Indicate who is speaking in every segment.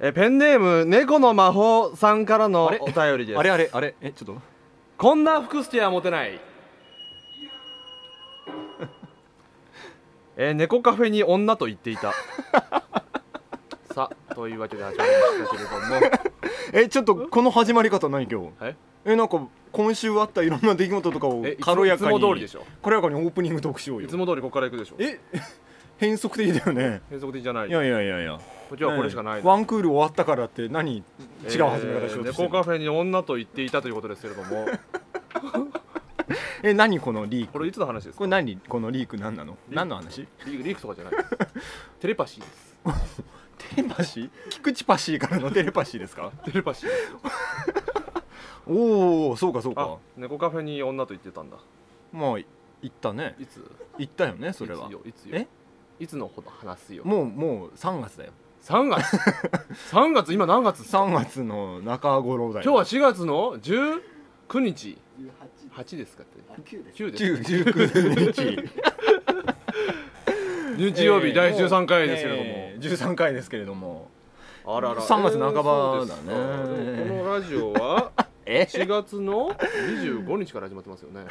Speaker 1: えペンネーム猫の魔法さんからのお
Speaker 2: れ
Speaker 1: 便りです
Speaker 2: あれあれあれえちょっと
Speaker 1: こんな服捨ては持てない えー猫カフェに女と言っていた さあというわけで始まりましたけれど も
Speaker 2: えちょっとこの始まり方何今日
Speaker 1: え
Speaker 2: えなんか今週あったいろんな出来事とかを
Speaker 1: えいつも
Speaker 2: 軽やかに
Speaker 1: いつも通りでしょ
Speaker 2: 軽やかにオープニングトークしよう
Speaker 1: い
Speaker 2: よ
Speaker 1: つも通りここから行くでしょ
Speaker 2: え 変則的だよね
Speaker 1: 変則的じゃない
Speaker 2: いやいやいやいや
Speaker 1: 今日はこれしかない
Speaker 2: ワンクール終わったからって何違う
Speaker 1: えー
Speaker 2: 始め方しようとし
Speaker 1: 猫
Speaker 2: てる
Speaker 1: カフェに女と言っていたということですけれど も
Speaker 2: え何このリーク
Speaker 1: これいつの話ですか
Speaker 2: これ何このリーク何なの
Speaker 1: リーク
Speaker 2: 何の話
Speaker 1: リークリークとかじゃないですテレパシーです
Speaker 2: テレパシー菊池パシーからのテレパシ ーですか
Speaker 1: テレパシーです
Speaker 2: おおそうかそう
Speaker 1: あ
Speaker 2: か
Speaker 1: 猫カフェに女と言ってたんだ
Speaker 2: まあ行ったね
Speaker 1: いつ
Speaker 2: 行ったよねそれ
Speaker 1: い
Speaker 2: は
Speaker 1: つよいつよ
Speaker 2: え
Speaker 1: いつのこと話すよ
Speaker 2: もうもう3月だよ
Speaker 1: 3月 3月今何月
Speaker 2: 3月の中頃だよ
Speaker 1: 今日は4月の19日8ですかって9です
Speaker 2: 10 19日
Speaker 1: 日曜日第13回ですけれども、
Speaker 2: えー13回ですけれども
Speaker 1: あらら
Speaker 2: 3月半ば
Speaker 1: そうですか
Speaker 2: だね
Speaker 1: でもこのラジオは
Speaker 2: え
Speaker 1: 4月の25日から始まってますよね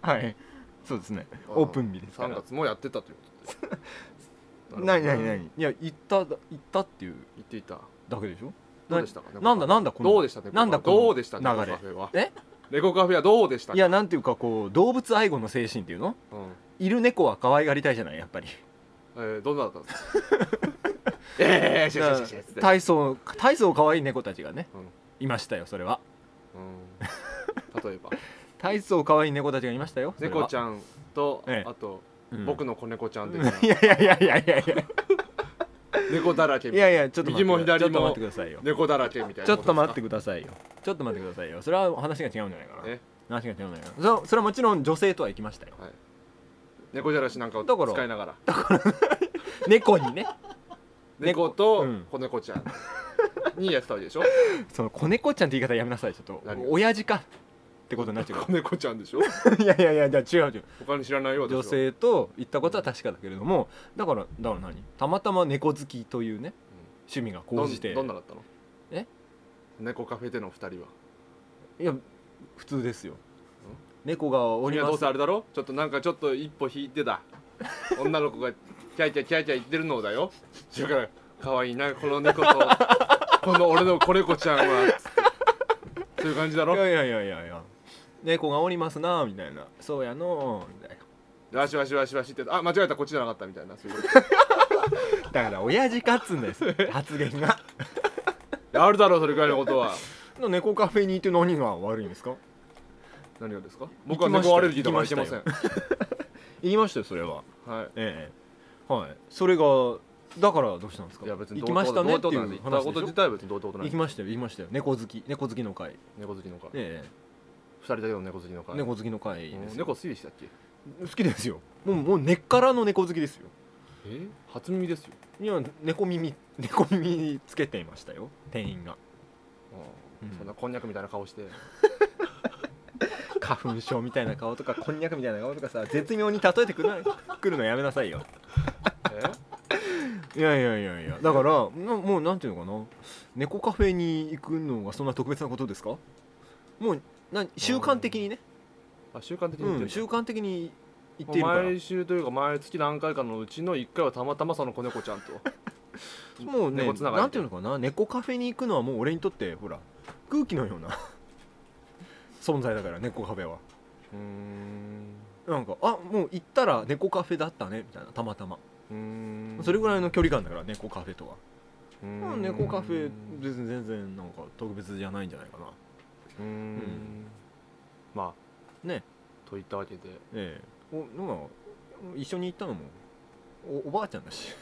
Speaker 2: はいそうですね オープン日ですか
Speaker 1: 3
Speaker 2: ら
Speaker 1: 月もやってたということで
Speaker 2: 何何
Speaker 1: 言
Speaker 2: 何いや行った行ったっていう
Speaker 1: っていた
Speaker 2: だけでしょ
Speaker 1: どうでしたか
Speaker 2: ななんだなんだこの
Speaker 1: どうでしたね
Speaker 2: なんだこの
Speaker 1: どうでしたね
Speaker 2: 流
Speaker 1: 猫カフ
Speaker 2: れ
Speaker 1: ェは
Speaker 2: え
Speaker 1: 猫カフェはどうでしたか
Speaker 2: いやなんていうかこう動物愛護の精神っていうの
Speaker 1: うん
Speaker 2: いる猫は可愛がりたいじゃないやっぱり
Speaker 1: えー、どんなだったんですか えー、シェシェシェシェ
Speaker 2: 体操体操可愛い猫たちがね
Speaker 1: うん
Speaker 2: いましたよそれは
Speaker 1: うん例 えば
Speaker 2: 体操可愛い猫たちがいましたよそれは
Speaker 1: 猫ちゃんと、
Speaker 2: ええ
Speaker 1: あと、
Speaker 2: うん
Speaker 1: 僕の子猫ちゃんで、
Speaker 2: いやいやいやいやいやいや
Speaker 1: 猫だらけ
Speaker 2: いやいやちょっと待
Speaker 1: 右
Speaker 2: って
Speaker 1: も左も
Speaker 2: ちょっと待ってくださいよ
Speaker 1: 猫だらけみたいな
Speaker 2: ちょっと待って
Speaker 1: く
Speaker 2: くださいよちょっと待ってくださいよそれは話が違うんじゃないかな
Speaker 1: え
Speaker 2: 話が違うんじゃないかなそそれはもちろん女性とは行きましたよ
Speaker 1: はい、猫じゃらしなんかを
Speaker 2: だから
Speaker 1: 使いながら
Speaker 2: 猫にね
Speaker 1: 猫と
Speaker 2: うん
Speaker 1: 子猫 ちゃんにやってたわけでしょ
Speaker 2: その子猫ちゃんって言い方やめなさいちょっと
Speaker 1: 何が
Speaker 2: 親父かってことになっちゃう
Speaker 1: 子猫ちゃんでしょ
Speaker 2: いやいやいやじゃあ違う違う
Speaker 1: 他に知らないようでしょ
Speaker 2: 女性と行ったことは確かだけれどもだからだから何たまたま猫好きというね趣味が
Speaker 1: ど
Speaker 2: 高
Speaker 1: ん
Speaker 2: じて
Speaker 1: どんなだったの
Speaker 2: え
Speaker 1: 猫カフェでの二人はい
Speaker 2: や普通ですよ猫がお
Speaker 1: い
Speaker 2: り
Speaker 1: や
Speaker 2: ま
Speaker 1: どう
Speaker 2: す
Speaker 1: せあれだろちょっとなんかちょっと一歩引いてだ女の子がキャイキャイキャイキャイ言ってるのだよだから可愛いなこの猫とこの俺の子猫ちゃんはつってそういう感じだ
Speaker 2: い
Speaker 1: ろ
Speaker 2: やいやいやいやいや猫がおりますなみたいなそうやのみたいな
Speaker 1: わしわしわしわしってあ間違えたこっちじゃなかったみたいなそういうこと
Speaker 2: だから親父かっつんです 発言が
Speaker 1: あるだろうそれくらいのことは
Speaker 2: 猫カフェに行って何が悪いんですか
Speaker 1: 何がですか
Speaker 2: 行
Speaker 1: 僕
Speaker 2: き
Speaker 1: は
Speaker 2: ましたよ
Speaker 1: 猫アレルギーとかいけません
Speaker 2: 行言いましたよそれは
Speaker 1: はい
Speaker 2: ええはいそれがだからどうしたんですか
Speaker 1: いや別にど
Speaker 2: 行き
Speaker 1: うっ
Speaker 2: ま
Speaker 1: て
Speaker 2: し
Speaker 1: こと
Speaker 2: た
Speaker 1: どう
Speaker 2: ね
Speaker 1: いう
Speaker 2: って
Speaker 1: こと
Speaker 2: い
Speaker 1: なんです行ったこ
Speaker 2: う話
Speaker 1: と
Speaker 2: でし
Speaker 1: 自
Speaker 2: ょ
Speaker 1: 体は別にどうってことない
Speaker 2: 行きましたよ行きましたよ猫好き猫好きの会
Speaker 1: 猫好きの会二
Speaker 2: え
Speaker 1: 人だけの猫好きの
Speaker 2: え
Speaker 1: 会
Speaker 2: 猫好きの会
Speaker 1: うん
Speaker 2: ですよ
Speaker 1: 猫好きでしたっけ
Speaker 2: 好きですよもうもう根っからの猫好きですよ
Speaker 1: え初耳ですよ
Speaker 2: いや猫耳猫耳につけていましたよ店員がうん
Speaker 1: そんなこんにゃくみたいな顔して
Speaker 2: 花粉症みたいな顔とかこんにゃくみたいな顔とかさ絶妙に例えてくるなくるのやめなさいよ
Speaker 1: え
Speaker 2: いやいやいやいやだからなもうなんていうのかな猫カフェに行くのがそんな特別なことですかもうな習慣的にね、
Speaker 1: あ習慣的に言
Speaker 2: う
Speaker 1: って
Speaker 2: ん、
Speaker 1: る
Speaker 2: 習慣的に行っているから
Speaker 1: 毎週というか毎月何回かのうちの1回はたまたまその子猫 ちゃんと
Speaker 2: もうね
Speaker 1: 猫つながりで
Speaker 2: なんていうのかな猫カフェに行くのはもう俺にとってほら空気のような 存在だから猫カフェは
Speaker 1: うーん
Speaker 2: なんかあもう行ったら猫カフェだったねみたいなたまたま、
Speaker 1: うーん
Speaker 2: それぐ
Speaker 1: らい
Speaker 2: らいの距離感だから猫カフェとは、まあ猫カフェ
Speaker 1: で
Speaker 2: 別に全然なんか特別じゃないんじゃないかな
Speaker 1: うーんまあ
Speaker 2: ね
Speaker 1: といったわけで
Speaker 2: ええおなんか一緒に行ったのもおおばあちゃんだし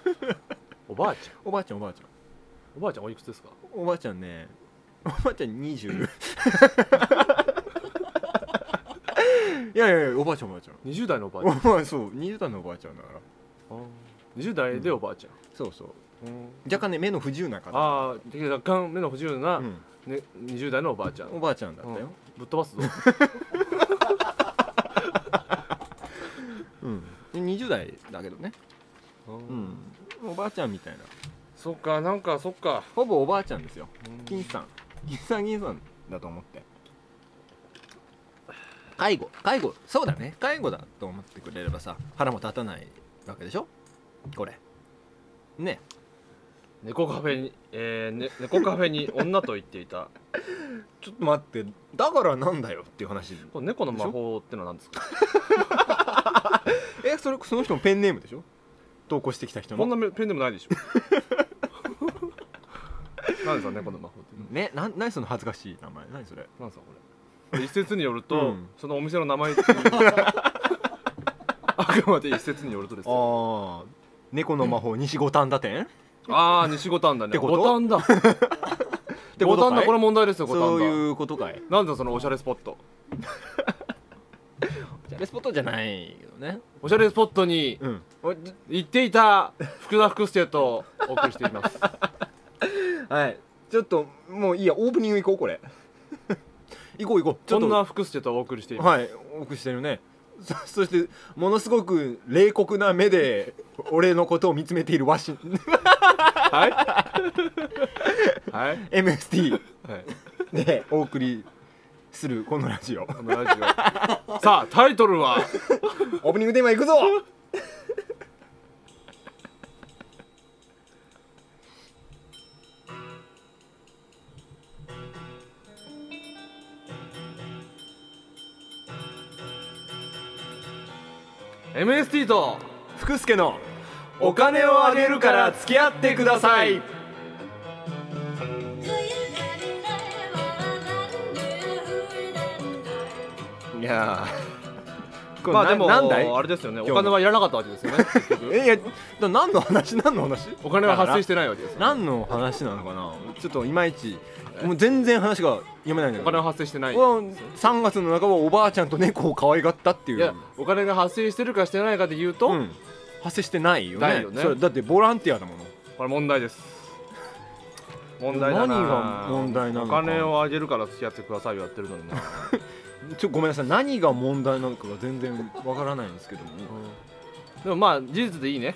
Speaker 1: おばあちゃん
Speaker 2: おばあちゃんおばあちゃん
Speaker 1: おばあちゃんおいくつですか
Speaker 2: おばあちゃんね おばあちゃん20 いやいやいやおばあちゃんおばあちゃん
Speaker 1: 20代のおばあちゃん
Speaker 2: お前そう20代のおばあちゃんだから
Speaker 1: あー20代でおばあちゃん、
Speaker 2: そうそう
Speaker 1: うん
Speaker 2: 若干ね目の不自由な方、
Speaker 1: ああ若干目の不自由な、
Speaker 2: うん、
Speaker 1: ね、20代のおばあちゃん
Speaker 2: おばあちゃんだったよ、
Speaker 1: ぶっ飛ばすぞ
Speaker 2: うん20代だけどね、
Speaker 1: う
Speaker 2: うん、おばあちゃんみたいな
Speaker 1: そっかなんかそっか
Speaker 2: ほぼおばあちゃんですよ
Speaker 1: うん
Speaker 2: 金さん金さん銀さんだと思って介護介護そうだね介護だと思ってくれればさ腹も立たないわけでしょこれね
Speaker 1: 猫カフェに、えーね、猫カフェに女と言っていた
Speaker 2: ちょっと待ってだからなんだよっていう話
Speaker 1: これ猫の魔法ってのは何ですか
Speaker 2: えそれその人もペンネームでしょ投稿してきた人
Speaker 1: こん
Speaker 2: の
Speaker 1: なめペンでもないでしょ 何ですか猫の魔法って
Speaker 2: ねな何その恥ずかしい名前何それ
Speaker 1: 何ですかこれ一説によると、
Speaker 2: うん
Speaker 1: そのお店の名前っ ていうあくまで一説によるとですよ
Speaker 2: ああ猫の魔法西五反田店っ
Speaker 1: ああー西五反田
Speaker 2: っ
Speaker 1: ね
Speaker 2: てこと
Speaker 1: 五反田
Speaker 2: て
Speaker 1: 五
Speaker 2: こと
Speaker 1: 反
Speaker 2: か
Speaker 1: 田
Speaker 2: い
Speaker 1: これ問題ですよ五
Speaker 2: そう
Speaker 1: 反
Speaker 2: いうことかい
Speaker 1: 田なんだそのおしゃれスポット
Speaker 2: じゃレスポットじゃないけどね
Speaker 1: おしゃれスポットに
Speaker 2: うん
Speaker 1: 行っていた福田福助とお送りしています
Speaker 2: はいちょっともういいやオープニング行こうこれ 行こう行こうちょ
Speaker 1: こ
Speaker 2: っと
Speaker 1: んな福助とお送りしています、
Speaker 2: はい多くしてるね そそしてものすごく冷酷な目で俺のことを見つめているワ シ
Speaker 1: はいはい、
Speaker 2: MST
Speaker 1: はい、
Speaker 2: でお送りするこのラジオオ
Speaker 1: このラジオさあタイトルは
Speaker 2: ープニングテーマいくぞ
Speaker 1: MST と
Speaker 2: 福助のお金をあげるから付き合ってください
Speaker 3: Do
Speaker 2: い
Speaker 3: you got it there? Well, I'm
Speaker 2: やーこれ
Speaker 1: まあ
Speaker 2: な
Speaker 1: でも
Speaker 2: なんだい
Speaker 1: あれですよねお
Speaker 2: 日の
Speaker 1: 金はやらなかったわけですよね結局
Speaker 2: えいやだ何の話何の話
Speaker 1: お金は発生してないわけですよ
Speaker 2: 何の話なのかなちょっといまいちもう全然話が読めないんだ
Speaker 1: お
Speaker 2: け
Speaker 1: 金は
Speaker 2: ど
Speaker 1: 発生してない
Speaker 2: 俺は3月の半ばおばあちゃんと猫を可愛がったっていう
Speaker 1: いやお金が発生してるかしてないかで言うと、
Speaker 2: うん、発生してないよね
Speaker 1: ないよね
Speaker 2: それだってボランティアだもの
Speaker 1: これ問題です問題だな
Speaker 2: 何が問題なのか
Speaker 1: お金をあげるから付き合ってくださいをやってるのにな
Speaker 2: ちょごめんなさい何が問題なのかが全然わからないんですけども
Speaker 1: でもまあ事実でいいね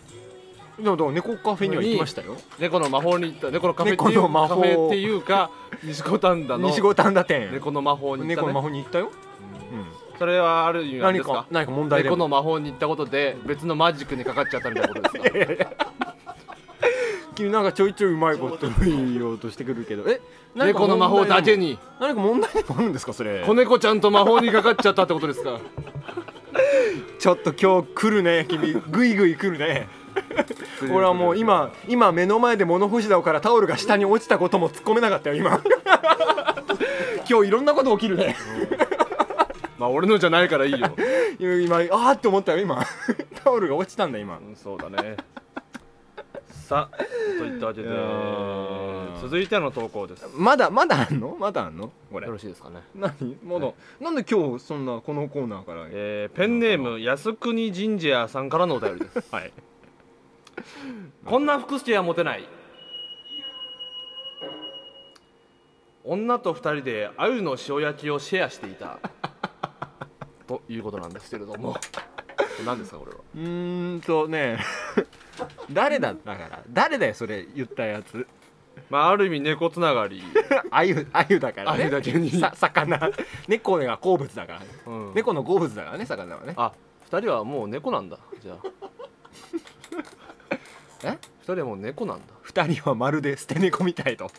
Speaker 2: でもだから猫カフェには行きましたよ
Speaker 1: 猫の魔法に行った猫のカフェってい
Speaker 2: 猫の
Speaker 1: う
Speaker 2: 魔
Speaker 1: カ
Speaker 2: 法
Speaker 1: フェっていうか 西五反田の
Speaker 2: 西五反田店
Speaker 1: 猫の魔法に行った
Speaker 2: 猫の
Speaker 1: ね
Speaker 2: 魔法に行ったよ、うん
Speaker 1: それはある意味なん
Speaker 2: 何
Speaker 1: です
Speaker 2: か
Speaker 1: か
Speaker 2: 何か問題で
Speaker 1: 猫
Speaker 2: も
Speaker 1: の魔法に行ったことで別のマジックにかかっちゃったみたいなことですか
Speaker 2: 君なんかちょいちょいうまいこと言おうとしてくるけどえ何か
Speaker 1: 猫の魔法だけに
Speaker 2: 何か問題でもあるんですかそれ
Speaker 1: 子猫ちゃんと魔法にかかっちゃったってことですか
Speaker 2: ちょっと今日来るね君グイグイ来るね俺はもう今今目の前で物干し竿からタオルが下に落ちたことも突っ込めなかったよ今 今日いろんなこと起きるね
Speaker 1: まあ俺のじゃないからいいよ
Speaker 2: 今あーって思ったよ今タオルが落ちたんだ 今
Speaker 1: うんそうだねさあといったわけで
Speaker 2: いやー
Speaker 1: 続いての投稿ですよ
Speaker 2: まだまだあんのまだあんのこれ
Speaker 1: ろしいですかね
Speaker 2: 何まだ、
Speaker 1: は
Speaker 2: なんで今日そんなこのコーナーから、
Speaker 1: えーペンネーム靖国神社さんからのお便りです
Speaker 2: はい
Speaker 1: こんな福助はモテない女と二人で鮎の塩焼きをシェアしていた ということなんですけれども 何ですかこれは
Speaker 2: うーんとね 誰だだから誰だよそれ言ったやつ
Speaker 1: まあある意味猫つながり、
Speaker 2: あゆあゆだからね
Speaker 1: あゆだけに
Speaker 2: さ魚猫が好物だから、
Speaker 1: うん
Speaker 2: 猫の好物だからね魚はね
Speaker 1: あ二人はもう猫なんだじゃあ
Speaker 2: え
Speaker 1: 二人はもう猫なんだ
Speaker 2: 二人はまるで捨て猫みたいと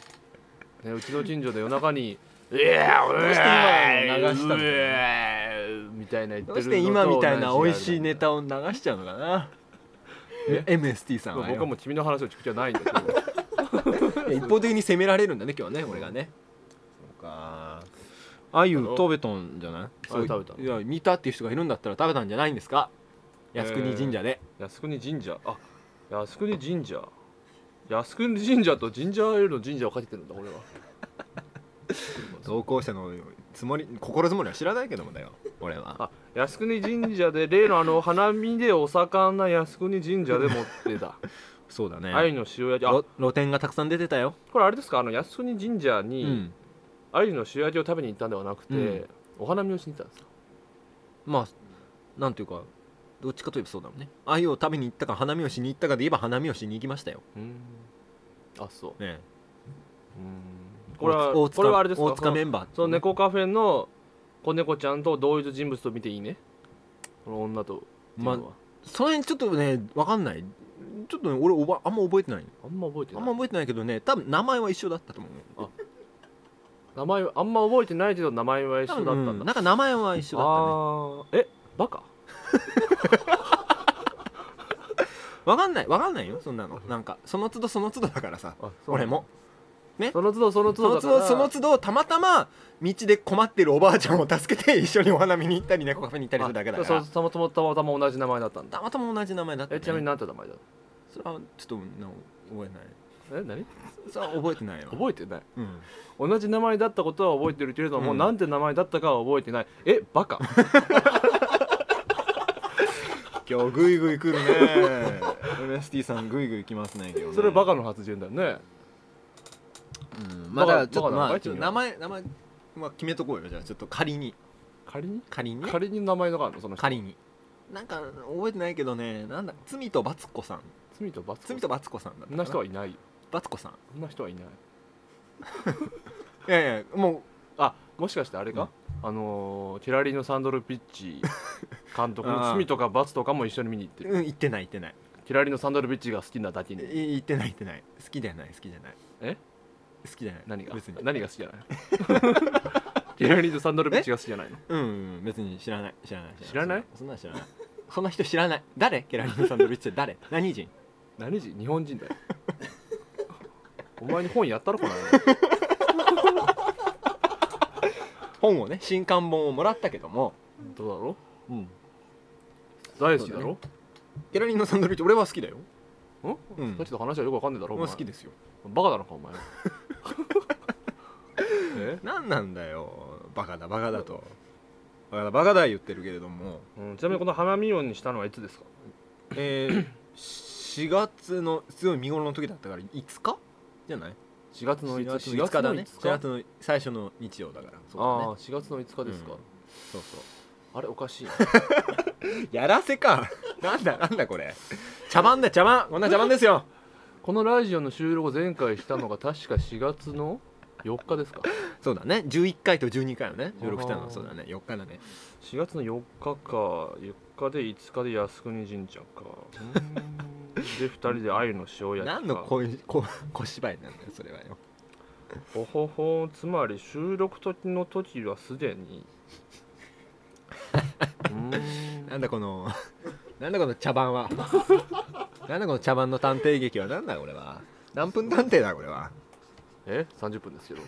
Speaker 1: ね、うちの近所で夜中に「 いやー
Speaker 2: うして今流したの
Speaker 1: みたいな言って
Speaker 2: ど
Speaker 1: る
Speaker 2: うして今みたいな美味しいネ
Speaker 1: タ
Speaker 2: タを流しちゃうのかな MST さんはよ
Speaker 1: 僕はもう君の話を聞く気はないんだ けど
Speaker 2: いや一方的に責められるんだね今日はね俺がねそうかあゆ食べたんじゃないそう
Speaker 1: 食べた
Speaker 2: いや見たっていう人がいるんだったら食べたんじゃないんですか靖国神社で、
Speaker 1: 靖国神社あ靖国神社靖国神社とジンジャーエールの神社をかけてるんだ俺は
Speaker 2: 同行者のつもり心づもりは知らないけどもだよ俺は
Speaker 1: あ靖国神社で例のあの花見でお盛んな靖国神社で持ってた
Speaker 2: そうだ ね
Speaker 1: 愛の塩焼きあ
Speaker 2: ろ露店がたくさん出てたよ、
Speaker 1: これあれですかあの靖国神社に、
Speaker 2: うん
Speaker 1: アユの塩焼きを食べに行ったんではなくて、
Speaker 2: うん
Speaker 1: お花見をしに行ったんですか
Speaker 2: まあなんていうかどっちかといえばそうだもんねあゆを食べに行ったか花見をしに行ったかで言えば花見をしに行きましたよ
Speaker 1: あそう
Speaker 2: ね
Speaker 1: うんこれは
Speaker 2: 大塚
Speaker 1: これはあれですか
Speaker 2: 大塚メンバー
Speaker 1: その猫カフェの子猫ちゃんと同一人物と見ていいねこの女とっていうのは、
Speaker 2: まその辺ちょっとね分かんないちょっとね俺おばあんま覚えてない
Speaker 1: あんま覚えてな
Speaker 2: あ
Speaker 1: い
Speaker 2: んま覚えてないけどね多分名前は一緒だったと思う
Speaker 1: 名前はあんま覚えてないけど名前は一緒だったんだ、
Speaker 2: うんなんか名前は一緒だったね
Speaker 1: ああーえバカ
Speaker 2: 分かんない分かんないよそんなのなんかその都度その都度だからさ
Speaker 1: あそう
Speaker 2: 俺も
Speaker 1: その都度その
Speaker 2: そ
Speaker 1: 都度
Speaker 2: の
Speaker 1: だか
Speaker 2: 都
Speaker 1: ら
Speaker 2: 度その都度たまたま道で困ってるおばあちゃんを助けて一緒にお花見に行ったり猫カフェに行ったりするだけだか
Speaker 1: あ
Speaker 2: ら
Speaker 1: そうたまたまたまたま同じ名前だったんだ
Speaker 2: たまたま同じ名前だった、
Speaker 1: え
Speaker 2: ね、
Speaker 1: ちなみに何て名前だ
Speaker 2: それはちょっとな覚えない
Speaker 1: え何
Speaker 2: それは覚えてないよ
Speaker 1: 覚えてない
Speaker 2: うん
Speaker 1: 同じ名前だったことは覚えてるけれども、
Speaker 2: うん
Speaker 1: なんて名前だったかは覚えてないえバカ
Speaker 2: 今日グイグイ来るね MST さんグイグイ来ますね今日ね
Speaker 1: それバカの発言だよね
Speaker 2: うんまあだからちょっ
Speaker 1: バカ
Speaker 2: と
Speaker 1: な
Speaker 2: ま
Speaker 1: バ
Speaker 2: あ
Speaker 1: カ君は
Speaker 2: ちょっと名前名前まあ決めとこうよじゃあちょっと仮に
Speaker 1: 仮に
Speaker 2: 仮に
Speaker 1: 仮に名前のがあるのその人
Speaker 2: 仮になんか覚えてないけどねなんだ罪とバツ子さん
Speaker 1: 罪と罰
Speaker 2: 罪とバツ子さんだった
Speaker 1: そん
Speaker 2: か
Speaker 1: な人はいないよ
Speaker 2: バツ子さん
Speaker 1: そんな人はいない
Speaker 2: いやいやも
Speaker 1: あもしかしてあれか、あのー、ティラリーのサンドルピッ チ監督
Speaker 2: あ
Speaker 1: の
Speaker 2: ー
Speaker 1: 罪とか罰とかも一緒に見に行って
Speaker 2: う、
Speaker 1: る
Speaker 2: うん、言ってない言ってない
Speaker 1: ティラリーのサンドルピッチが好きなだけに
Speaker 2: い言ってない言ってない好きじゃない好きじゃない
Speaker 1: え
Speaker 2: 好きじゃない
Speaker 1: 何が
Speaker 2: 別に
Speaker 1: 何が好きじゃないティラリーのサンドルピッチが好きじゃない の
Speaker 2: うん、うん、別に知らない知らない
Speaker 1: 知らない
Speaker 2: そんなの知らないそんな人知らない誰ケラリンサンドルイッチって誰何人
Speaker 1: 何時日本人 だよお前に本やったろこの間
Speaker 2: 本をね新刊本をもらったけども
Speaker 1: どうだろ
Speaker 2: うん
Speaker 1: う大好きだろ
Speaker 2: ケラリンのサンドルイッチ俺は好きだよ
Speaker 1: うん
Speaker 2: うん
Speaker 1: さっきと話はよくわかんねえだろお
Speaker 2: 俺は
Speaker 1: 前
Speaker 2: 好きですよ
Speaker 1: バカだのかお前え、
Speaker 2: 何なんだよバカだバカだとバカだバカだ言ってるけれども
Speaker 1: うん、ちなみにこの花見音にしたのはいつですか
Speaker 2: えー、4月のすごい見頃の時だったから5日じゃない
Speaker 1: 4月の
Speaker 2: ?4
Speaker 1: 5日
Speaker 2: 月の5日だね
Speaker 1: 4月
Speaker 2: 4月
Speaker 1: の
Speaker 2: の最初の日曜だからそうだ
Speaker 1: ああ
Speaker 2: ね
Speaker 1: 4月の5日ですか、
Speaker 2: うんそうそう
Speaker 1: あれおかしい な
Speaker 2: やらせか なんだなんだこれ茶番だ茶番こんな茶番ですよ
Speaker 1: このラジオの収録を前回したのが確か4月の4日ですか
Speaker 2: そうだね11回と12回をね収録した
Speaker 1: あー
Speaker 2: のそうだね4日だね
Speaker 1: 4月の4日か4日で5日で靖国神社かうーんで2人で愛の塩焼きか
Speaker 2: 何の小小小芝居なんだよそれはよ
Speaker 1: ほほほつまり収録時の時はすでにうーん
Speaker 2: なんだこの なんだこの茶番はなんだこの茶番の探偵劇はなんだこれは何分探偵だこれは
Speaker 1: え30分ですけど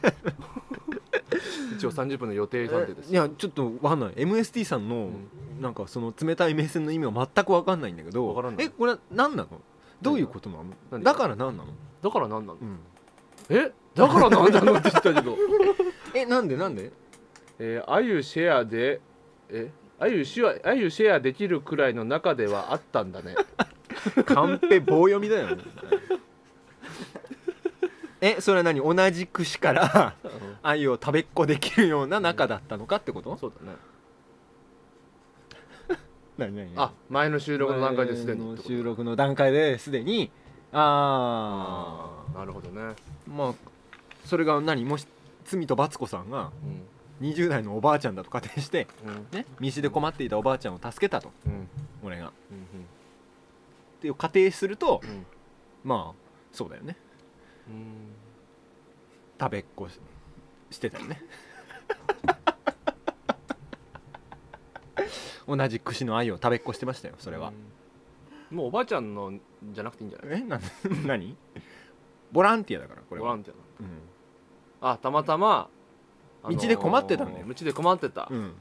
Speaker 1: 一応30分の予定探偵です
Speaker 2: いやちょっとわかんない MST さんの、なんかその冷たい目線の意味は全くわかんないんだけど
Speaker 1: わからない
Speaker 2: えこれは何なのどういうことなの
Speaker 1: 何が
Speaker 2: だから何なの、
Speaker 1: だから何なの
Speaker 2: うん、
Speaker 1: えだから何なのって言ったけ ど
Speaker 2: えなんでなんで
Speaker 1: えー、あゆシェアでえあゆシェアあゆシェアできるくらいの中ではあったんだね
Speaker 2: カンペ棒読みだよね えそれは何同じ串から 鮎を食べっこできるような仲だったのかってこと
Speaker 1: そうだね
Speaker 2: 何何
Speaker 1: あ前の収録の段階ですでにってこと
Speaker 2: 収録の段階ですでにあ
Speaker 1: あーなるほどね、
Speaker 2: あまあそれが何もし罪と罰子さんが
Speaker 1: うん
Speaker 2: 20代のおばあちゃんだと仮定して
Speaker 1: うん
Speaker 2: ね道で困っていたおばあちゃんを助けたと
Speaker 1: うん
Speaker 2: 俺がっ
Speaker 1: うん
Speaker 2: ていう仮定すると
Speaker 1: うん
Speaker 2: まあそうだよね
Speaker 1: うん
Speaker 2: 食べっこししてたよね 同じ串の愛を食べっこしてましたよそれは、
Speaker 1: うんもうおばあちゃんのじゃなくていいんじゃ ない
Speaker 2: えなん何ボランティアだからこれ
Speaker 1: ボラ
Speaker 2: は、
Speaker 1: ンティ
Speaker 2: うん
Speaker 1: アのあたまたま、
Speaker 2: 道で困ってたんだよ
Speaker 1: 道で困ってた、
Speaker 2: うん、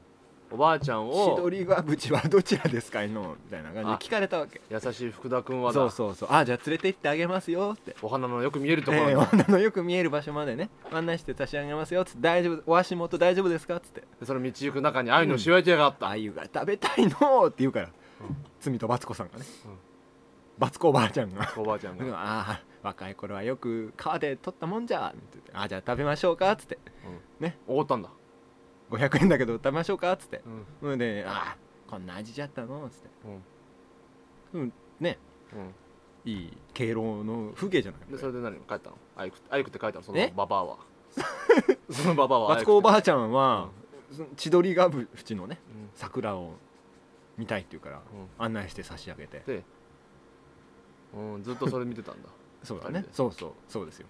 Speaker 1: おばあちゃん
Speaker 2: シド
Speaker 1: を
Speaker 2: リガブチはどちらですかいのみたいな感じで聞かれたわけ
Speaker 1: 優しい福田君はだ
Speaker 2: そうそうそうあじゃあ連れて行ってあげますよって
Speaker 1: お花のよく見えるところに、
Speaker 2: ええ女のよく見える場所までね案内して差し上げますよっつって大丈夫お足元大丈夫ですかっつって
Speaker 1: でその道行く中に愛の塩焼き屋があった、
Speaker 2: あゆが食べたいのって言うから、罪とバツ子さんがね、
Speaker 1: うん
Speaker 2: バツ子おばあちゃんが
Speaker 1: おばあちゃんが、
Speaker 2: うんああ若い頃はよく川で取ったもんじゃ」って言って「あじゃあ食べましょうか」っつって
Speaker 1: おごったんだ、
Speaker 2: 「500円だけど食べましょうか」っつって
Speaker 1: うんうん
Speaker 2: それで「ああこんな味じゃったの」っつって、
Speaker 1: うん
Speaker 2: うん、ねいい敬老の風景じゃない
Speaker 1: でそれで何帰ったのアイクアイクって書いたのその
Speaker 2: え
Speaker 1: ババアは そのババアはア
Speaker 2: マ
Speaker 1: イク
Speaker 2: ツコおばあちゃんは、その千鳥ヶ淵のね
Speaker 1: うん
Speaker 2: 桜を見たいって言うから、
Speaker 1: う
Speaker 2: 案内して差し上げて
Speaker 1: で、うん、ずっとそれ見てたんだ、
Speaker 2: そうだ
Speaker 1: 二
Speaker 2: ね
Speaker 1: 人で
Speaker 2: そうそうそうですよ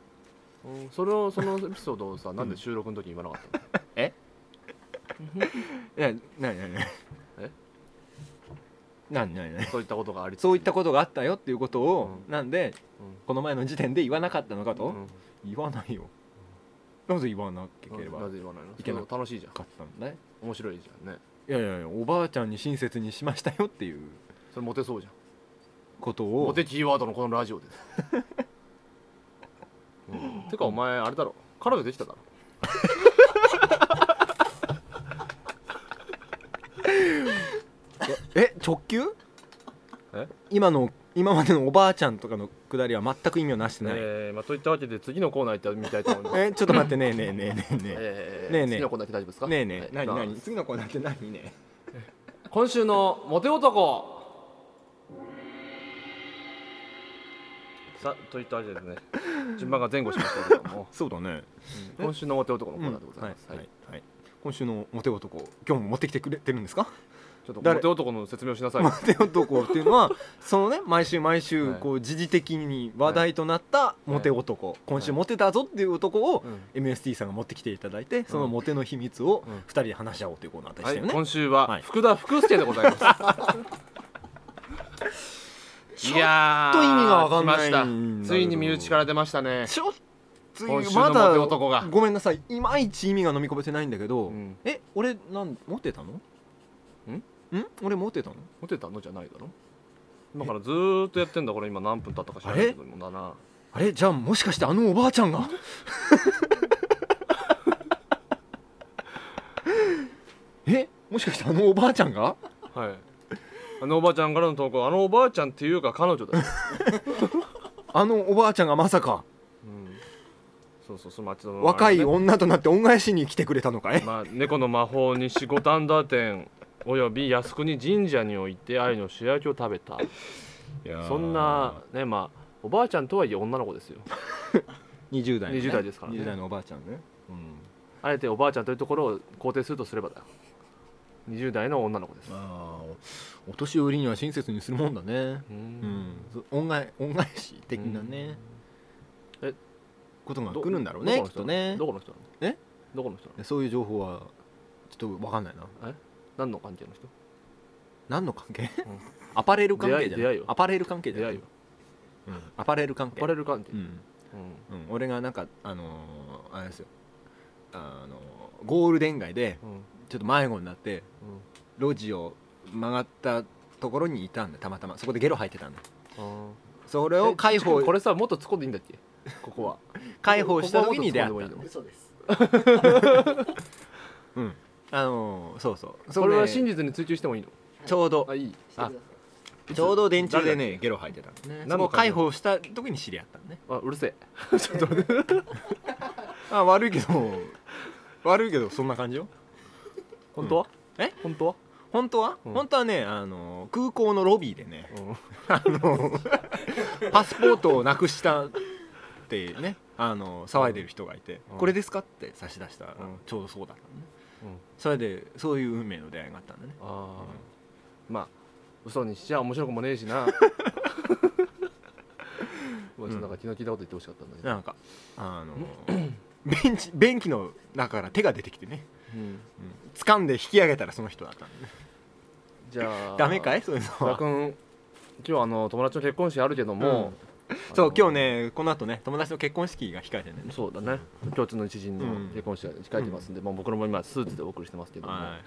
Speaker 1: うん、それをそのエピソードをさなんで収録の時に言わなかったの
Speaker 2: いやなになになに
Speaker 1: え
Speaker 2: なになになに
Speaker 1: そういったことがありつつ
Speaker 2: そういったことがあったよっていうことを、
Speaker 1: う
Speaker 2: なんでこの前の時点で言わなかったのかと、
Speaker 1: うんうん
Speaker 2: 言わないよなぜ言わなければ
Speaker 1: なぜ言わないの
Speaker 2: いけな
Speaker 1: そう楽しいじゃん
Speaker 2: かったんだね
Speaker 1: 面白いじゃんね
Speaker 2: いやいやいやおばあちゃんに親切にしましたよっていう
Speaker 1: それモテそうじゃん
Speaker 2: ことを
Speaker 1: モテキーワードのこのラ ジオですうんてかお前あれだろ彼女できただろ
Speaker 2: え直球
Speaker 1: え
Speaker 2: 今の今までのおばあちゃんとかのくだりは全く意味をなしてない、え
Speaker 1: えーまあといったわけで次のコーナー行ってみたいと思います
Speaker 2: ちょっと待ってね えねえねえねえね
Speaker 1: えー
Speaker 2: ねえねえ
Speaker 1: 次のコーナー行って大丈夫ですか
Speaker 2: えねえね
Speaker 1: はい
Speaker 2: え何
Speaker 1: じゃあ
Speaker 2: 何次のコーナーって何ね
Speaker 1: 今週のモテ男さあといったわけでです ね順番が前後しましたけれども
Speaker 2: そうだね
Speaker 1: うん今週のモテ男のコ
Speaker 2: う
Speaker 1: ー
Speaker 2: ん
Speaker 1: ナー
Speaker 2: は
Speaker 1: でございます、
Speaker 2: いは
Speaker 1: はい
Speaker 2: いはい今週のモテ男今日も持ってきてくれてるんですか
Speaker 1: ちょっと
Speaker 2: 誰
Speaker 1: モテ男の説明をしな さい
Speaker 2: モテ男っていうの はそのね毎週毎週
Speaker 1: はい
Speaker 2: こう時事的に話題となったモテ男今週モテたぞっていう男を
Speaker 1: うん
Speaker 2: MST さんが持ってきていただいてそのモテの秘密を
Speaker 1: うん
Speaker 2: 2人で話し合おうというコーナーでし
Speaker 1: はい、
Speaker 2: たよね
Speaker 1: 今週は
Speaker 2: はい
Speaker 1: 福田福助でございます。いやー
Speaker 2: ちょっと意味がわかんないんだけど
Speaker 1: 来ましたついに身内から出ましたね。
Speaker 2: ちょっと
Speaker 1: 今週の
Speaker 2: ま
Speaker 1: モ
Speaker 2: だ
Speaker 1: テ男が
Speaker 2: ごめんなさいいまいち意味が飲み込めてないんだけど、
Speaker 1: うん
Speaker 2: え俺なんモテたのんん俺モテたの
Speaker 1: モテたのじゃないだろ。今からずーっとやってんだこれ今何分経ったか知らないけどもだな。
Speaker 2: あれじゃあもしかしてあのおばあちゃんが えもしかしてあのおばあちゃんが
Speaker 1: はい。あのおばあちゃんからの投稿あのおばあちゃんっていうか彼女だよ。
Speaker 2: あのおばあちゃんがまさか
Speaker 1: うん、そうそうその町の、
Speaker 2: 若い
Speaker 1: あれね
Speaker 2: 女となって恩返しに来てくれたのかい
Speaker 1: まあ、猫の魔法にし五反田店および靖国神社において愛の素焼きを食べた。そんなねまあおばあちゃんとはいえ女の子ですよ
Speaker 2: 20代の、
Speaker 1: 20代ですからね
Speaker 2: 20代のおばあちゃんね、うん、
Speaker 1: あえておばあちゃんというところを肯定するとすればだよ20代の女の子です
Speaker 2: まあおお年寄りには親切にするもんだね
Speaker 1: う
Speaker 2: うんん、そ恩返恩返し的なね、
Speaker 1: うんえ
Speaker 2: ことが
Speaker 1: ど
Speaker 2: 来るんだろうね
Speaker 1: ど
Speaker 2: き
Speaker 1: この人なの
Speaker 2: っとね
Speaker 1: どこの人なの
Speaker 2: え
Speaker 1: どこの人なの
Speaker 2: そういう情報はちょっと分かんないな
Speaker 1: 何の関係の人
Speaker 2: 何の関係、
Speaker 1: ん
Speaker 2: アパレル関係じゃ
Speaker 1: 出
Speaker 2: な
Speaker 1: 会い出会
Speaker 2: い
Speaker 1: いよ
Speaker 2: アパレル関係じ
Speaker 1: 出
Speaker 2: ゃな
Speaker 1: 会
Speaker 2: い
Speaker 1: いは
Speaker 2: うんアパレル関係
Speaker 1: アパレル関係
Speaker 2: う
Speaker 1: うん
Speaker 2: ん、うん、俺がなんかあのーあれですよあのーゴールデン街で
Speaker 1: うん
Speaker 2: ちょっと迷子になって路地を曲がったところにいたんだたまたまそこでゲロ吐いてたんだ
Speaker 1: うん
Speaker 2: それ
Speaker 1: あー
Speaker 2: を解放
Speaker 1: えこれさもっと突っ込んでいいんだっけここは
Speaker 2: 解放した時に出会
Speaker 1: こ
Speaker 2: っ
Speaker 1: こは
Speaker 2: た
Speaker 1: もっと突っ込んでもいいの
Speaker 4: 嘘です
Speaker 2: うんあのーそうそう
Speaker 1: それは
Speaker 2: そう
Speaker 1: 真
Speaker 2: ね
Speaker 1: 実に追求してもいいの
Speaker 2: ちょうど
Speaker 1: あいい
Speaker 4: して
Speaker 1: あ
Speaker 4: ください
Speaker 2: ちょうど電柱でねゲロ吐いてたのね
Speaker 1: 何の
Speaker 2: そこを解放した時に知り合ったのね
Speaker 1: あうるせえ
Speaker 2: あ悪い けど悪いけどそんな感じよ
Speaker 1: 本当は
Speaker 2: え
Speaker 1: 本当は
Speaker 2: 本当は、
Speaker 1: うん
Speaker 2: 本当はねあの空港のロビーでね
Speaker 1: うん
Speaker 2: あのパスポートをなくしたってねあの騒いでる人がいて、
Speaker 1: うん
Speaker 2: これですかって差し出したら、
Speaker 1: うん
Speaker 2: ちょうどそうだったのね、
Speaker 1: うん
Speaker 2: それでそういう運命の出会いがあったんだね
Speaker 1: あーまあ嘘にしちゃ面白くもねえし なおいちょっとなんか気の利いたこと言ってほしかったんだけど、
Speaker 2: なんかあのベンチ 便器の中から手が出てきてね、
Speaker 1: うん
Speaker 2: うん、掴んで引き上げたらその人だったんだね
Speaker 1: じゃあ
Speaker 2: ダメかいそういうの
Speaker 1: 田
Speaker 2: は
Speaker 1: 君今日あの友達の結婚式あるけども、あの
Speaker 2: そう今日ねこの後ね友達の結婚式が控えてるんだよね
Speaker 1: そうだね共通の知人
Speaker 2: うん
Speaker 1: の結婚式が控えてますんで、もう僕らも今スーツでお送りしてますけども、
Speaker 2: はいはいはい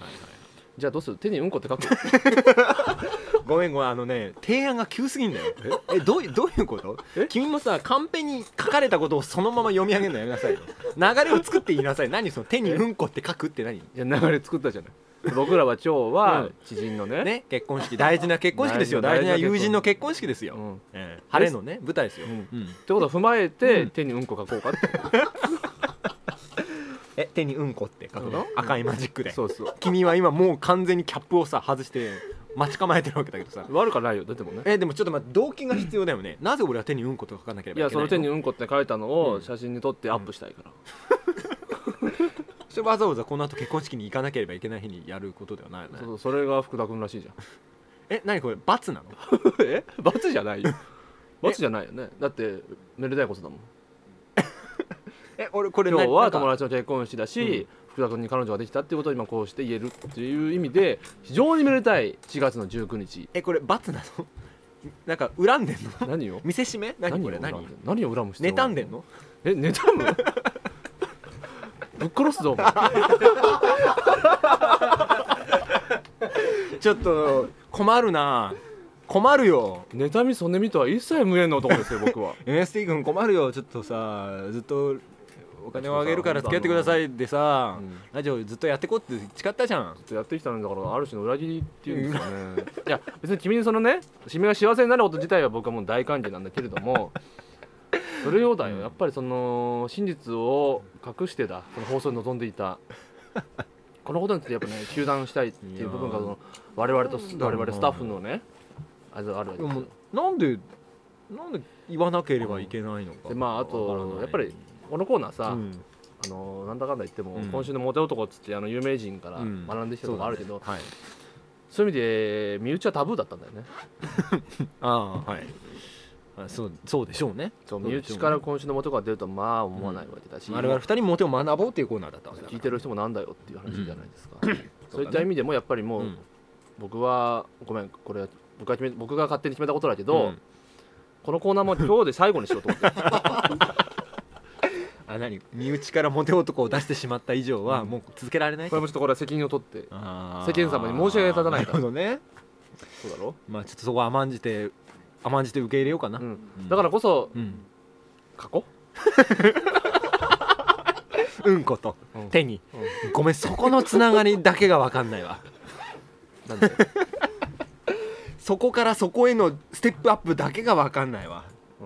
Speaker 1: じゃあどうする手にうんこって書く
Speaker 2: ごめんごめんあのね提案が急すぎんだよえどういうどういうこと
Speaker 1: え
Speaker 2: 君もさカンペに書かれたことをそのまま読み上げるのやめなさいよ流れを作って言いなさい何その手にうんこって書くって何
Speaker 1: いや流れ作ったじゃない僕らは今日は
Speaker 2: うん
Speaker 1: 知人のね,、
Speaker 2: ね結婚式大事な結婚式ですよ
Speaker 1: 大事
Speaker 2: 大事
Speaker 1: な
Speaker 2: な友人の結婚式ですよ、
Speaker 1: うんっ
Speaker 2: ええ晴れのね舞台ですよ、
Speaker 1: うん
Speaker 2: うん
Speaker 1: てことを踏まえて、
Speaker 2: うん
Speaker 1: 手にうんこ書こうか って
Speaker 2: え手にうんこって書くの、
Speaker 1: うん
Speaker 2: 赤いマジックで
Speaker 1: そうそう
Speaker 2: 君は今もう完全にキャップをさ外して待ち構えてるわけだけどさ
Speaker 1: 悪かないよ出ても ね
Speaker 2: えでもちょっと待って動機が必要だよねなぜ俺は手にうんこと書かなけれ
Speaker 1: い
Speaker 2: ばい
Speaker 1: や
Speaker 2: け
Speaker 1: そ
Speaker 2: ない
Speaker 1: の手に
Speaker 2: の
Speaker 1: うんこって書いたのを写真に撮ってアップしたいから、
Speaker 2: それわざわざこの後結婚式に行かなければいけない日にやることではないよね
Speaker 1: そうそうそれが福田君らしい じゃん
Speaker 2: え何これ罰なの
Speaker 1: え罰じゃないよ罰じゃないよねだってめでたいことだもん
Speaker 2: え俺これ
Speaker 1: 今日は
Speaker 2: な
Speaker 1: 友
Speaker 2: なん
Speaker 1: 達
Speaker 2: か
Speaker 1: の結婚式だし、福田君に彼女ができたっていうことを今こうして言えるっていう意味で非常にめでたい4月の19日
Speaker 2: えこれ罰なの なんか恨んでんの
Speaker 1: 何よ
Speaker 2: 見せしめ何これ何
Speaker 1: を恨む何を恨む必要が
Speaker 2: 妬んでんの
Speaker 1: え妬む ぶっ殺すぞお前
Speaker 2: ちょっと困るな困るよ
Speaker 1: 妬みそねみとは一切無縁の男ですよ僕は
Speaker 2: MST 君困るよちょっとさずっと お金をあげるから付き合ってくださいでさ、
Speaker 1: うん
Speaker 2: ラジオずっとやってこって誓ったじゃん
Speaker 1: やってきたんだからある種の裏切りっていうんですかねいや別に君にそのね君が幸せになること自体は僕はもう大歓迎なんだけれどもそれよだよやっぱりその真実を隠してだその放送に臨んでいたこのことについてやっぱね糾弾したいっていう部分がそ
Speaker 2: いや
Speaker 1: の我々と
Speaker 2: なんだろう
Speaker 1: 我
Speaker 2: な
Speaker 1: 々スタッフのねあれあるわけ
Speaker 2: で
Speaker 1: です
Speaker 2: も
Speaker 1: よ
Speaker 2: なんでなんで言わなければいけないのか、
Speaker 1: でまああ
Speaker 2: わからな
Speaker 1: と
Speaker 2: い
Speaker 1: やっぱりこのコーナーさ、
Speaker 2: うん
Speaker 1: あのなんだかんだ言っても、
Speaker 2: うん
Speaker 1: 今週のモテ男っつってあの有名人から
Speaker 2: うん
Speaker 1: 学んできたとこあるけど、
Speaker 2: そうだねはい
Speaker 1: そういう意味で身内はタブーだったんだよね
Speaker 2: ああはいあそうそうでしょうね
Speaker 1: そう
Speaker 2: そ
Speaker 1: 身
Speaker 2: うでしょうね
Speaker 1: 内から今週のモテ男が出るとはまあ思わないわけだし、
Speaker 2: 我々二人モテを学ぼうっていうコーナーだったわけだか
Speaker 1: 聞
Speaker 2: ら
Speaker 1: いてる人もなんだよっていう話じゃないですか、そういっ
Speaker 2: そうだ
Speaker 1: た
Speaker 2: ね
Speaker 1: 意味でもやっぱりもう、
Speaker 2: うん
Speaker 1: 僕はごめんこれは僕が決め僕が勝手に決めたことだけど、
Speaker 2: うん
Speaker 1: このコーナーも今日で最後にしようと思って
Speaker 2: あ何身内からモテ男を出してしまった以上は、もう続けられな い
Speaker 1: これもちょっとこれは責任を取って
Speaker 2: 世
Speaker 1: 世間様に申し訳立たない
Speaker 2: な
Speaker 1: か
Speaker 2: る
Speaker 1: ら
Speaker 2: ほどね
Speaker 1: そうだろ、
Speaker 2: まあちょっとそこは甘んじて甘んじて受け入れようかな、
Speaker 1: うんだからこそ
Speaker 2: うん、
Speaker 1: 過去
Speaker 2: うんこと、
Speaker 1: うん
Speaker 2: 手に、ごめんそこのつながりだけが分かんないわ
Speaker 1: なん で、
Speaker 2: そこからそこへのステップアップだけが分かんないわ
Speaker 1: う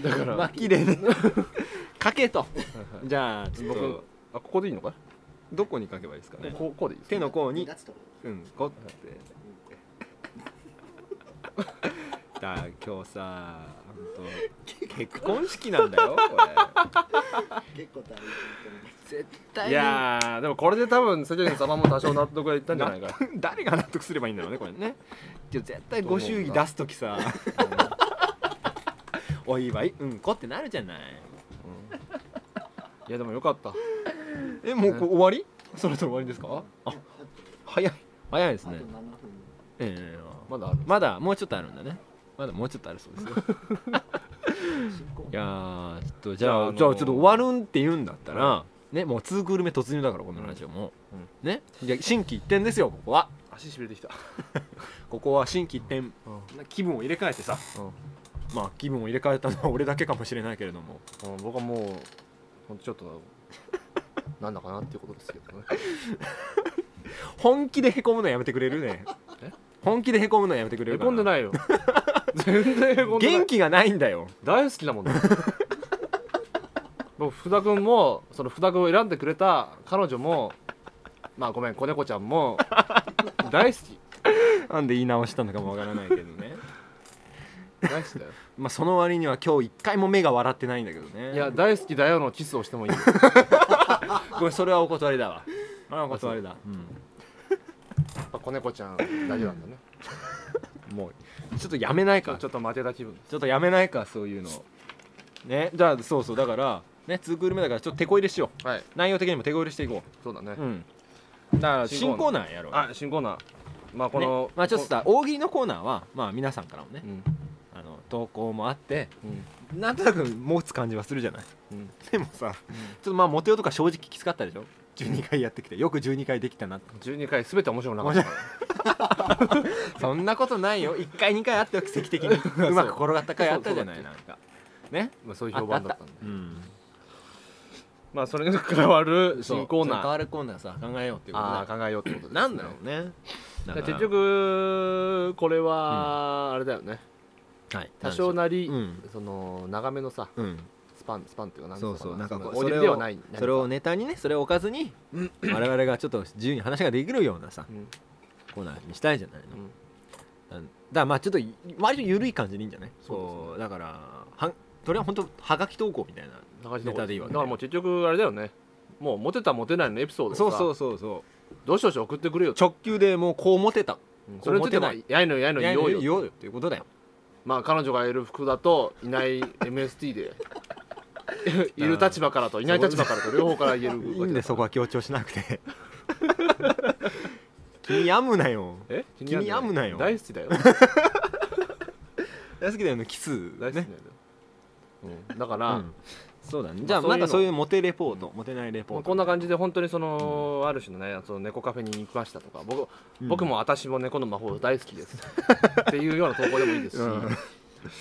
Speaker 1: ん、だから、
Speaker 2: まあ綺麗 ね書けとじゃあ
Speaker 1: 僕あここでいいのか
Speaker 2: どこに書けばいいですか
Speaker 1: こここうでいいですか
Speaker 2: 手の甲に
Speaker 4: 二月とか
Speaker 2: うんこってだから今日さ本 当結婚式なんだよこれ
Speaker 4: 結構大変
Speaker 2: 絶対
Speaker 1: いやーでもこれで多分世間様も多少納得がいったんじゃないか
Speaker 2: 誰が納得すればいいんだろうねこれねじゃあ絶対ご祝儀出す時さ お祝いうんこってなるじゃない
Speaker 1: いやでもよかった
Speaker 2: えもうこう終わりそろそろ終わりですかあ早い早いです
Speaker 4: あと
Speaker 2: ね
Speaker 4: 7分
Speaker 2: ええ
Speaker 1: まだある
Speaker 2: まだもうちょっとあるんだねまだもうちょっとあるそうで すよいやーちょっとじ
Speaker 1: じゃああ
Speaker 2: ゃあじゃ
Speaker 1: の
Speaker 2: あ
Speaker 1: ー
Speaker 2: ちょっと終わるんって言うんだったら
Speaker 1: は
Speaker 2: ねもう2クール目突入だからこのラジオも、
Speaker 1: うん
Speaker 2: ねいや心機一転ですよここは
Speaker 1: 足しびれてきた、
Speaker 2: ここは心機一転
Speaker 1: うん
Speaker 2: 気分を入れ替えてさまあ気分を入れ替えたのは俺だけかもしれないけれども
Speaker 1: うん僕はもうほんとちょっとなんだかなっていうことですけどね
Speaker 2: 本気でへこむのやめてくれるね
Speaker 1: え
Speaker 2: 本気でへこむのやめてくれ
Speaker 1: へ
Speaker 2: るか
Speaker 1: こんで
Speaker 2: い
Speaker 1: ないよ 全然へこんでない
Speaker 2: 元気がないんだよ
Speaker 1: 大好きだ もんね僕福田君もその福田君を選んでくれた彼女もまあごめん子猫ちゃんも大好き
Speaker 2: なんで言い直したのかもわからないけどね
Speaker 1: 大好きだよ
Speaker 2: まあその割には今日一回も目が笑ってないんだけどね
Speaker 1: いや大好きだよのキスをしてもいい よ
Speaker 2: これそれはお断りだわそれはお断りだ
Speaker 1: やっぱ子猫ちゃん大事なんだね
Speaker 2: うんもうちょっとやめない
Speaker 1: ちょ
Speaker 2: か
Speaker 1: ちょっと負けた気分
Speaker 2: ちょっとやめないかそういうのねじゃあそうそうだからね2クール目だからちょっと手こ入れしよう
Speaker 1: はい
Speaker 2: 内容的にも手こ入れしていこ
Speaker 1: そうだね、
Speaker 2: ううんだから
Speaker 1: 新
Speaker 2: 新
Speaker 1: コ
Speaker 2: コ
Speaker 1: ー
Speaker 2: ーナーやろうよ
Speaker 1: あ新コーナーまあこの、
Speaker 2: ねまあちょっとさ大喜利のコーナーはまあ皆さんからもね
Speaker 1: うん
Speaker 2: あの投稿もあって
Speaker 1: うん
Speaker 2: なんとなく持つ感じはするじゃない
Speaker 1: うん
Speaker 2: でもさ、ちょっとまあモテ男か正直きつかった でしょ12回やってきてよく12回できたなって
Speaker 1: 12回全て面白くなかったから
Speaker 2: そんなことないよ1回2回あったよ奇跡的 にうまく転がった回あったじゃないなんかね
Speaker 1: まあそういう評判だ ったんで
Speaker 2: うん
Speaker 1: まあそれに変わる新コーナ
Speaker 2: 変
Speaker 1: ー
Speaker 2: わるコーナーさ考えようっていうこ
Speaker 1: あ
Speaker 2: と
Speaker 1: あ考えようってことです、
Speaker 2: だなんだろうねだから
Speaker 1: 結局これはあれだよね
Speaker 2: はい
Speaker 1: 多少なり、
Speaker 2: うん
Speaker 1: その長めのさ
Speaker 2: うん
Speaker 1: スパンスパンっていうかなん
Speaker 2: そうそうなんかこう
Speaker 1: お
Speaker 2: それ
Speaker 1: では
Speaker 2: を
Speaker 1: ない何か
Speaker 2: それをネタにねそれをおかず に我々がちょっと自由に話ができるようなさ
Speaker 1: うん
Speaker 2: コーナーにしたいじゃない
Speaker 1: うん
Speaker 2: のなんだからまあちょっとい割と緩い感じでいいんじゃない
Speaker 1: そうですね
Speaker 2: こだからはそれは本当はがき投稿みたいな
Speaker 1: 流しの
Speaker 2: ネタでいいわけ
Speaker 1: だからもう結局あれだよねもうモテたモテないのエピソードをさ
Speaker 2: そうそうそうそう
Speaker 1: どうしようし送ってくれよと
Speaker 2: 直球でもうこう持てた
Speaker 1: うんそれについても
Speaker 2: モテ
Speaker 1: やいのやいの言おうよ
Speaker 2: 言おうよっていうことだよ
Speaker 1: まあ彼女がいる服だといない MST で いる立場からといない立場からと両方から言えるわけだ
Speaker 2: い
Speaker 1: か
Speaker 2: い
Speaker 1: ら
Speaker 2: んでそこは強調しなく て君やむなよ
Speaker 1: え
Speaker 2: 君病むなよ
Speaker 1: 大好きだよ
Speaker 2: 大好きだよねキス
Speaker 1: 大好きだよ
Speaker 2: ね、
Speaker 1: うん、だから、
Speaker 2: うんそうだねじゃあ
Speaker 1: まあそういうの
Speaker 2: なんかそういうモテレポートモテないレポ
Speaker 1: ま
Speaker 2: ー
Speaker 1: あ、
Speaker 2: ト
Speaker 1: こんな感じで本当にその、ある種のねその猫カフェに行きましたとか僕,、
Speaker 2: うん
Speaker 1: 僕も私も猫の魔法大好きです っていうような投稿でもいいですし、
Speaker 2: うん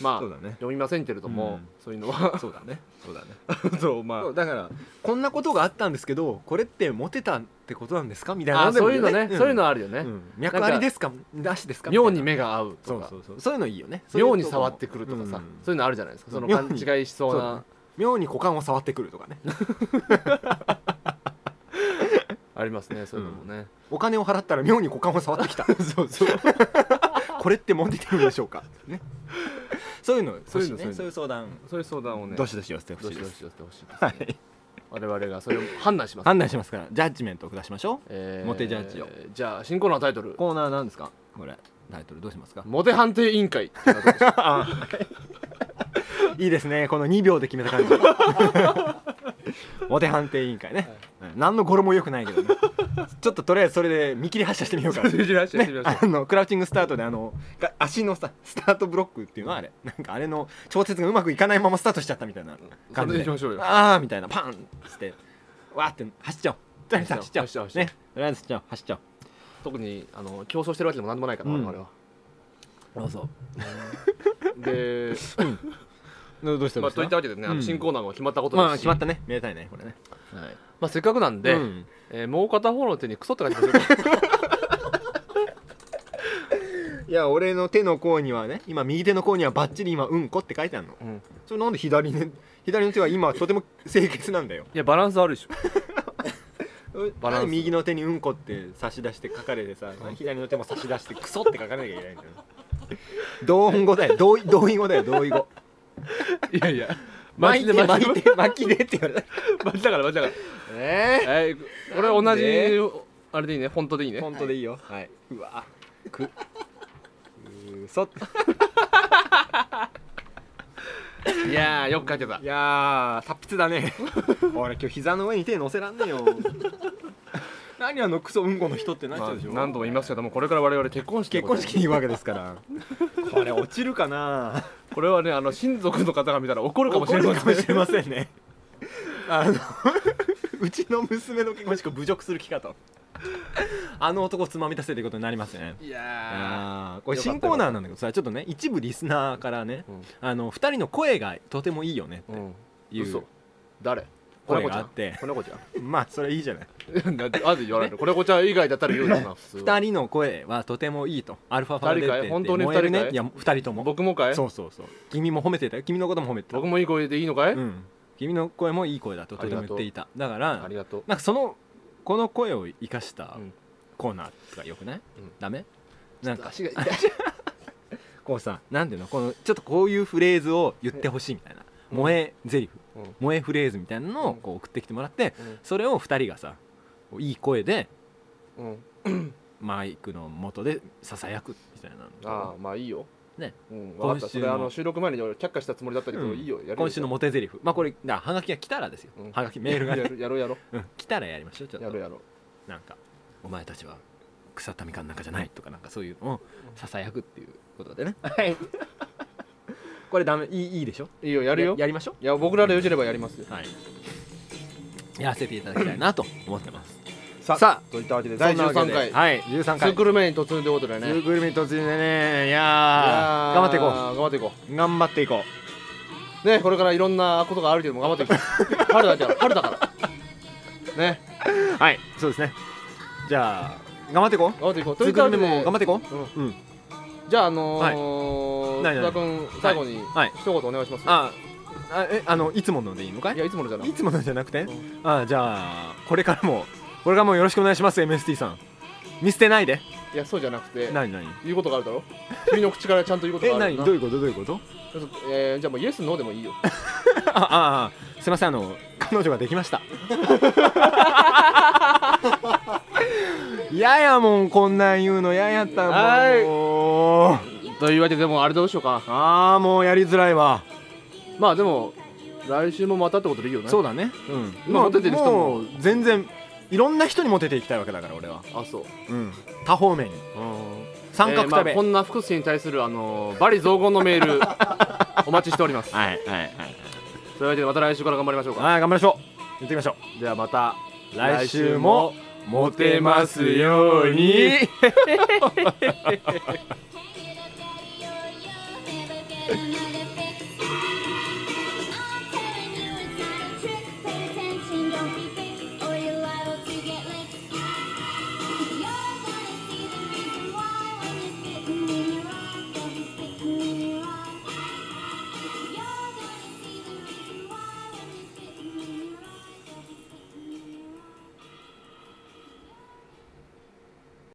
Speaker 1: まあ、
Speaker 2: そうだね
Speaker 1: 読みませんけれども、
Speaker 2: うん
Speaker 1: そういうのは
Speaker 2: そうだねそうだね
Speaker 1: そうま
Speaker 2: そうだからこんなことがあったんですけどこれってモテたってことなんですかみたいな
Speaker 1: あ
Speaker 2: で
Speaker 1: そ
Speaker 2: も
Speaker 1: ういうのね、そういうのあるよね、
Speaker 2: うん脈ありですかなしですか
Speaker 1: 妙に
Speaker 2: みたい
Speaker 1: 目が合う
Speaker 2: なそ
Speaker 1: と
Speaker 2: う
Speaker 1: か
Speaker 2: そうそうそういうのいいよね
Speaker 1: 妙に触ってくるとかさ、
Speaker 2: うん
Speaker 1: そういうのあるじゃないですかその
Speaker 2: 妙
Speaker 1: 勘
Speaker 2: に
Speaker 1: 違いしそう
Speaker 2: そうだ
Speaker 1: な
Speaker 2: ね妙に股間を触ってくるとかね
Speaker 1: ありますねそういうのもね、
Speaker 2: お金を払ったら妙に股間を触 ってきたそうそう これってモテてるんでしょうかねそういうの
Speaker 1: そういうの
Speaker 2: 欲しね
Speaker 1: そ
Speaker 2: そ
Speaker 1: い
Speaker 2: うういうう相談
Speaker 1: そういう相談をね
Speaker 2: どしどし寄せてほ
Speaker 1: ど
Speaker 2: し
Speaker 1: し
Speaker 2: い
Speaker 1: ど
Speaker 2: で
Speaker 1: し
Speaker 2: す
Speaker 1: 寄せてほしいです、ね
Speaker 2: はい
Speaker 1: 我々がそれを判断します、
Speaker 2: 判断しますからジャッジメントを下しましょ
Speaker 1: え
Speaker 2: モテジャッジを
Speaker 1: じゃあ新コーナータイトル
Speaker 2: うコーナーなんですかこれタイトルどうしますか
Speaker 1: モテ判定委員会っていうのはどう でしょう
Speaker 2: いいですねこの2秒で決めた 感じモテ判定委員会ね、うん何の語呂も良くないけどねちょっととりあえずそれで見切り発車してみよ うか
Speaker 1: それで発車してみましょう
Speaker 2: ねあのクラウチングスタートであのが足のさスタートブロックっていうのはあれなんかあれの調節がうまくいかないままスタートしちゃったみたいな
Speaker 1: そ
Speaker 2: 感じ
Speaker 1: れで行きましょうよ
Speaker 2: ああみたいなパンしてわーって走っちゃおうとりあえず走っちゃおう
Speaker 1: 走っちゃおう走っちゃおう
Speaker 2: ねとりあえず走っちゃおう走っちゃ
Speaker 1: 特にあの競争してるわけでも何でもないから、
Speaker 2: うん
Speaker 1: 我々は
Speaker 2: おうそう
Speaker 1: で、
Speaker 2: どうした
Speaker 1: まあ、
Speaker 2: どうした
Speaker 1: といったわけでね、あの
Speaker 2: うん
Speaker 1: 新コーナーも決まったことですし、
Speaker 2: まあ決まったねめでたいねこれねはい
Speaker 1: まあ、せっかくなんで、
Speaker 2: うん
Speaker 1: えーもう片方の手にクソって書いてます よ
Speaker 2: いや俺の手の甲にはね今右手の甲にはバッチリ今うんこって書いてあるの
Speaker 1: うん
Speaker 2: それなんで左ね左の手は今とても清潔なんだよ
Speaker 1: いやバランスあるでしょバランス
Speaker 2: なんで右の手にうんこって差し出して書かれてさ左の手も差し出してクソって書かなきゃいけないんだよ 同音語だよ同意同意語だよ同意 語
Speaker 1: いやいや
Speaker 2: 巻いて
Speaker 1: マ
Speaker 2: 巻
Speaker 1: ジ
Speaker 2: いて巻きでって言われた
Speaker 1: マジだからマジだから
Speaker 2: え
Speaker 1: えー、これ
Speaker 2: なんで
Speaker 1: 同じあれでいいねフォントでいいね
Speaker 2: 本当でいいよはいうわくうそ
Speaker 1: いやーよく書いてた
Speaker 2: いやー達筆だ ね俺今日膝の上に手乗せらんねえよ何あのクソうんこの人ってなっち
Speaker 1: ま
Speaker 2: ゃ
Speaker 1: あ
Speaker 2: うでしょ、
Speaker 1: 何度も言いますけどもこれから我々結婚式で
Speaker 2: 結
Speaker 1: ご
Speaker 2: 婚
Speaker 1: ざいます
Speaker 2: 式に言うわけですからこれ落ちるかな
Speaker 1: これはねあの親族の方が見たら怒るかもしれ
Speaker 2: 怒
Speaker 1: ま
Speaker 2: る
Speaker 1: せ
Speaker 2: か
Speaker 1: ん
Speaker 2: もしれませんね あのうちの娘の結婚式を侮辱する気かとあの男をつまみ出せということになりますね
Speaker 1: いや
Speaker 2: あーこれ新コーナーなんだけどさちょっとね一部リスナーからね、
Speaker 1: うん
Speaker 2: あの2人の声がとてもいいよね
Speaker 1: ーうん
Speaker 2: 言う
Speaker 1: 嘘誰子
Speaker 2: 声
Speaker 1: 猫ち
Speaker 2: が
Speaker 1: ゃ
Speaker 2: あ
Speaker 1: ん
Speaker 2: って
Speaker 1: 子猫ちゃん
Speaker 2: まあそれいいじゃない
Speaker 1: なんでなんで言わないのこれこちゃん以外だったら言うよな普通
Speaker 2: 二人の声はとてもいいとアルファファ
Speaker 1: 二
Speaker 2: で
Speaker 1: 人かい
Speaker 2: って
Speaker 1: 本当に
Speaker 2: 燃える
Speaker 1: 二人か
Speaker 2: ね
Speaker 1: い
Speaker 2: いや二人とも
Speaker 1: 僕もかい
Speaker 2: そうそうそう君も褒めてたよ君のことも褒めてた
Speaker 1: 僕もいい声でいいのかい、
Speaker 2: うん君の声もいい声だととても言っていただから
Speaker 1: ありがとう
Speaker 2: なんかそのこの声を生かした
Speaker 1: うん
Speaker 2: コーナーとかよくない、
Speaker 1: ん
Speaker 2: ダメなんか
Speaker 1: 足が痛い
Speaker 2: こうさなんていうのこのちょっとこういうフレーズを言ってほしいみたいな、萌えゼリフ、
Speaker 1: うん
Speaker 2: 萌えフレーズみたいなのをこう送ってきてもらって、
Speaker 1: うん
Speaker 2: それを二人がさこういい声で
Speaker 1: うん
Speaker 2: マイクの元でささやくみたいな
Speaker 1: ああまあいいよ
Speaker 2: ね、
Speaker 1: うん、わかったそ
Speaker 2: 今週の
Speaker 1: れあの収録前に俺却下したつもりだったけど、
Speaker 2: うん
Speaker 1: いいよやるよ
Speaker 2: 今週のモテゼリフまあこれだはがきが来たらですよ、
Speaker 1: うん
Speaker 2: はがきメールが、
Speaker 1: や
Speaker 2: ね、
Speaker 1: るやろうやろ
Speaker 2: うん来たらやりましょうちょ
Speaker 1: う
Speaker 2: っ
Speaker 1: や
Speaker 2: と
Speaker 1: ろうやろう
Speaker 2: なんかお前たちは草民間なんかじゃないとかなんかそういうのをささやくっていうことでねはいこれダメいいいいでしょ
Speaker 1: いいよやるよ
Speaker 2: やりましょ
Speaker 1: いや僕らでよければやりますよ
Speaker 2: うはいやらせていただきたいなと思ってます
Speaker 1: さ
Speaker 2: さあ
Speaker 1: といったわけで
Speaker 2: そ
Speaker 1: 第
Speaker 2: んなわけ
Speaker 1: 13
Speaker 2: で
Speaker 1: 回
Speaker 2: はい13
Speaker 1: ツ
Speaker 2: 回
Speaker 1: ークルメに突入ということでね
Speaker 2: ツークルミ突入でねいや
Speaker 1: いや
Speaker 2: ー
Speaker 1: ー
Speaker 2: 頑張っていこ
Speaker 1: 頑張っていこ
Speaker 2: う頑張っていこ
Speaker 1: うねこれからいろんなことがあるけども頑張っていこう春だから春だからね
Speaker 2: うはいそうですねじゃあ頑張っていこう
Speaker 1: 頑張っていこう
Speaker 2: ツ
Speaker 1: とい
Speaker 2: ー
Speaker 1: っ
Speaker 2: ク
Speaker 1: た
Speaker 2: ル
Speaker 1: わ
Speaker 2: ミ
Speaker 1: け
Speaker 2: も
Speaker 1: で
Speaker 2: 頑張っていこう
Speaker 1: うん
Speaker 2: うん
Speaker 1: じゃああのー
Speaker 2: 何
Speaker 1: 須田君最後に
Speaker 2: はい
Speaker 1: 一言お願いします
Speaker 2: あ
Speaker 4: あえあのいつものでいいのか
Speaker 1: い
Speaker 4: い
Speaker 1: やいつものじゃない
Speaker 2: いつものじゃなくて
Speaker 1: ん
Speaker 2: あじゃあこれからもこれからもよろしくお願いします MST さん見捨てないで
Speaker 1: いやそうじゃなくて
Speaker 2: 何何
Speaker 1: 言うことがあるだろ君の口からちゃんと言うこと
Speaker 2: え
Speaker 1: があるよ
Speaker 2: 何ど
Speaker 1: な
Speaker 2: ういうことどういうこと
Speaker 1: えーじゃあもうイエスノーでも いいよ
Speaker 2: ああああすいませんあの彼女ができ ましたややもんこんなん言うのややったもん
Speaker 1: はい
Speaker 2: もう
Speaker 1: というわけでもうあれどうしようか
Speaker 2: ああもうやりづらいわ
Speaker 1: まあでも来週もまたってことでいいよね
Speaker 2: そう
Speaker 1: う
Speaker 2: だねうん
Speaker 1: 今
Speaker 2: もう
Speaker 1: モテてる人も
Speaker 2: う全然いろんな人にモテていきたいわけだから俺は
Speaker 1: あそう
Speaker 2: うん多方面に三角
Speaker 1: えー
Speaker 2: 食
Speaker 1: まあ
Speaker 2: べ、
Speaker 1: こんな福祉に対するあのー、バリ雑言のメー ルお待ちしております
Speaker 2: はいはいはい
Speaker 1: というわけでまた来週から頑張りましょうか
Speaker 2: はい頑張りましょう行ってみましょ
Speaker 1: ではまた
Speaker 2: う来週もモテますように
Speaker 1: に
Speaker 3: 「手がかりを呼べばけるならば」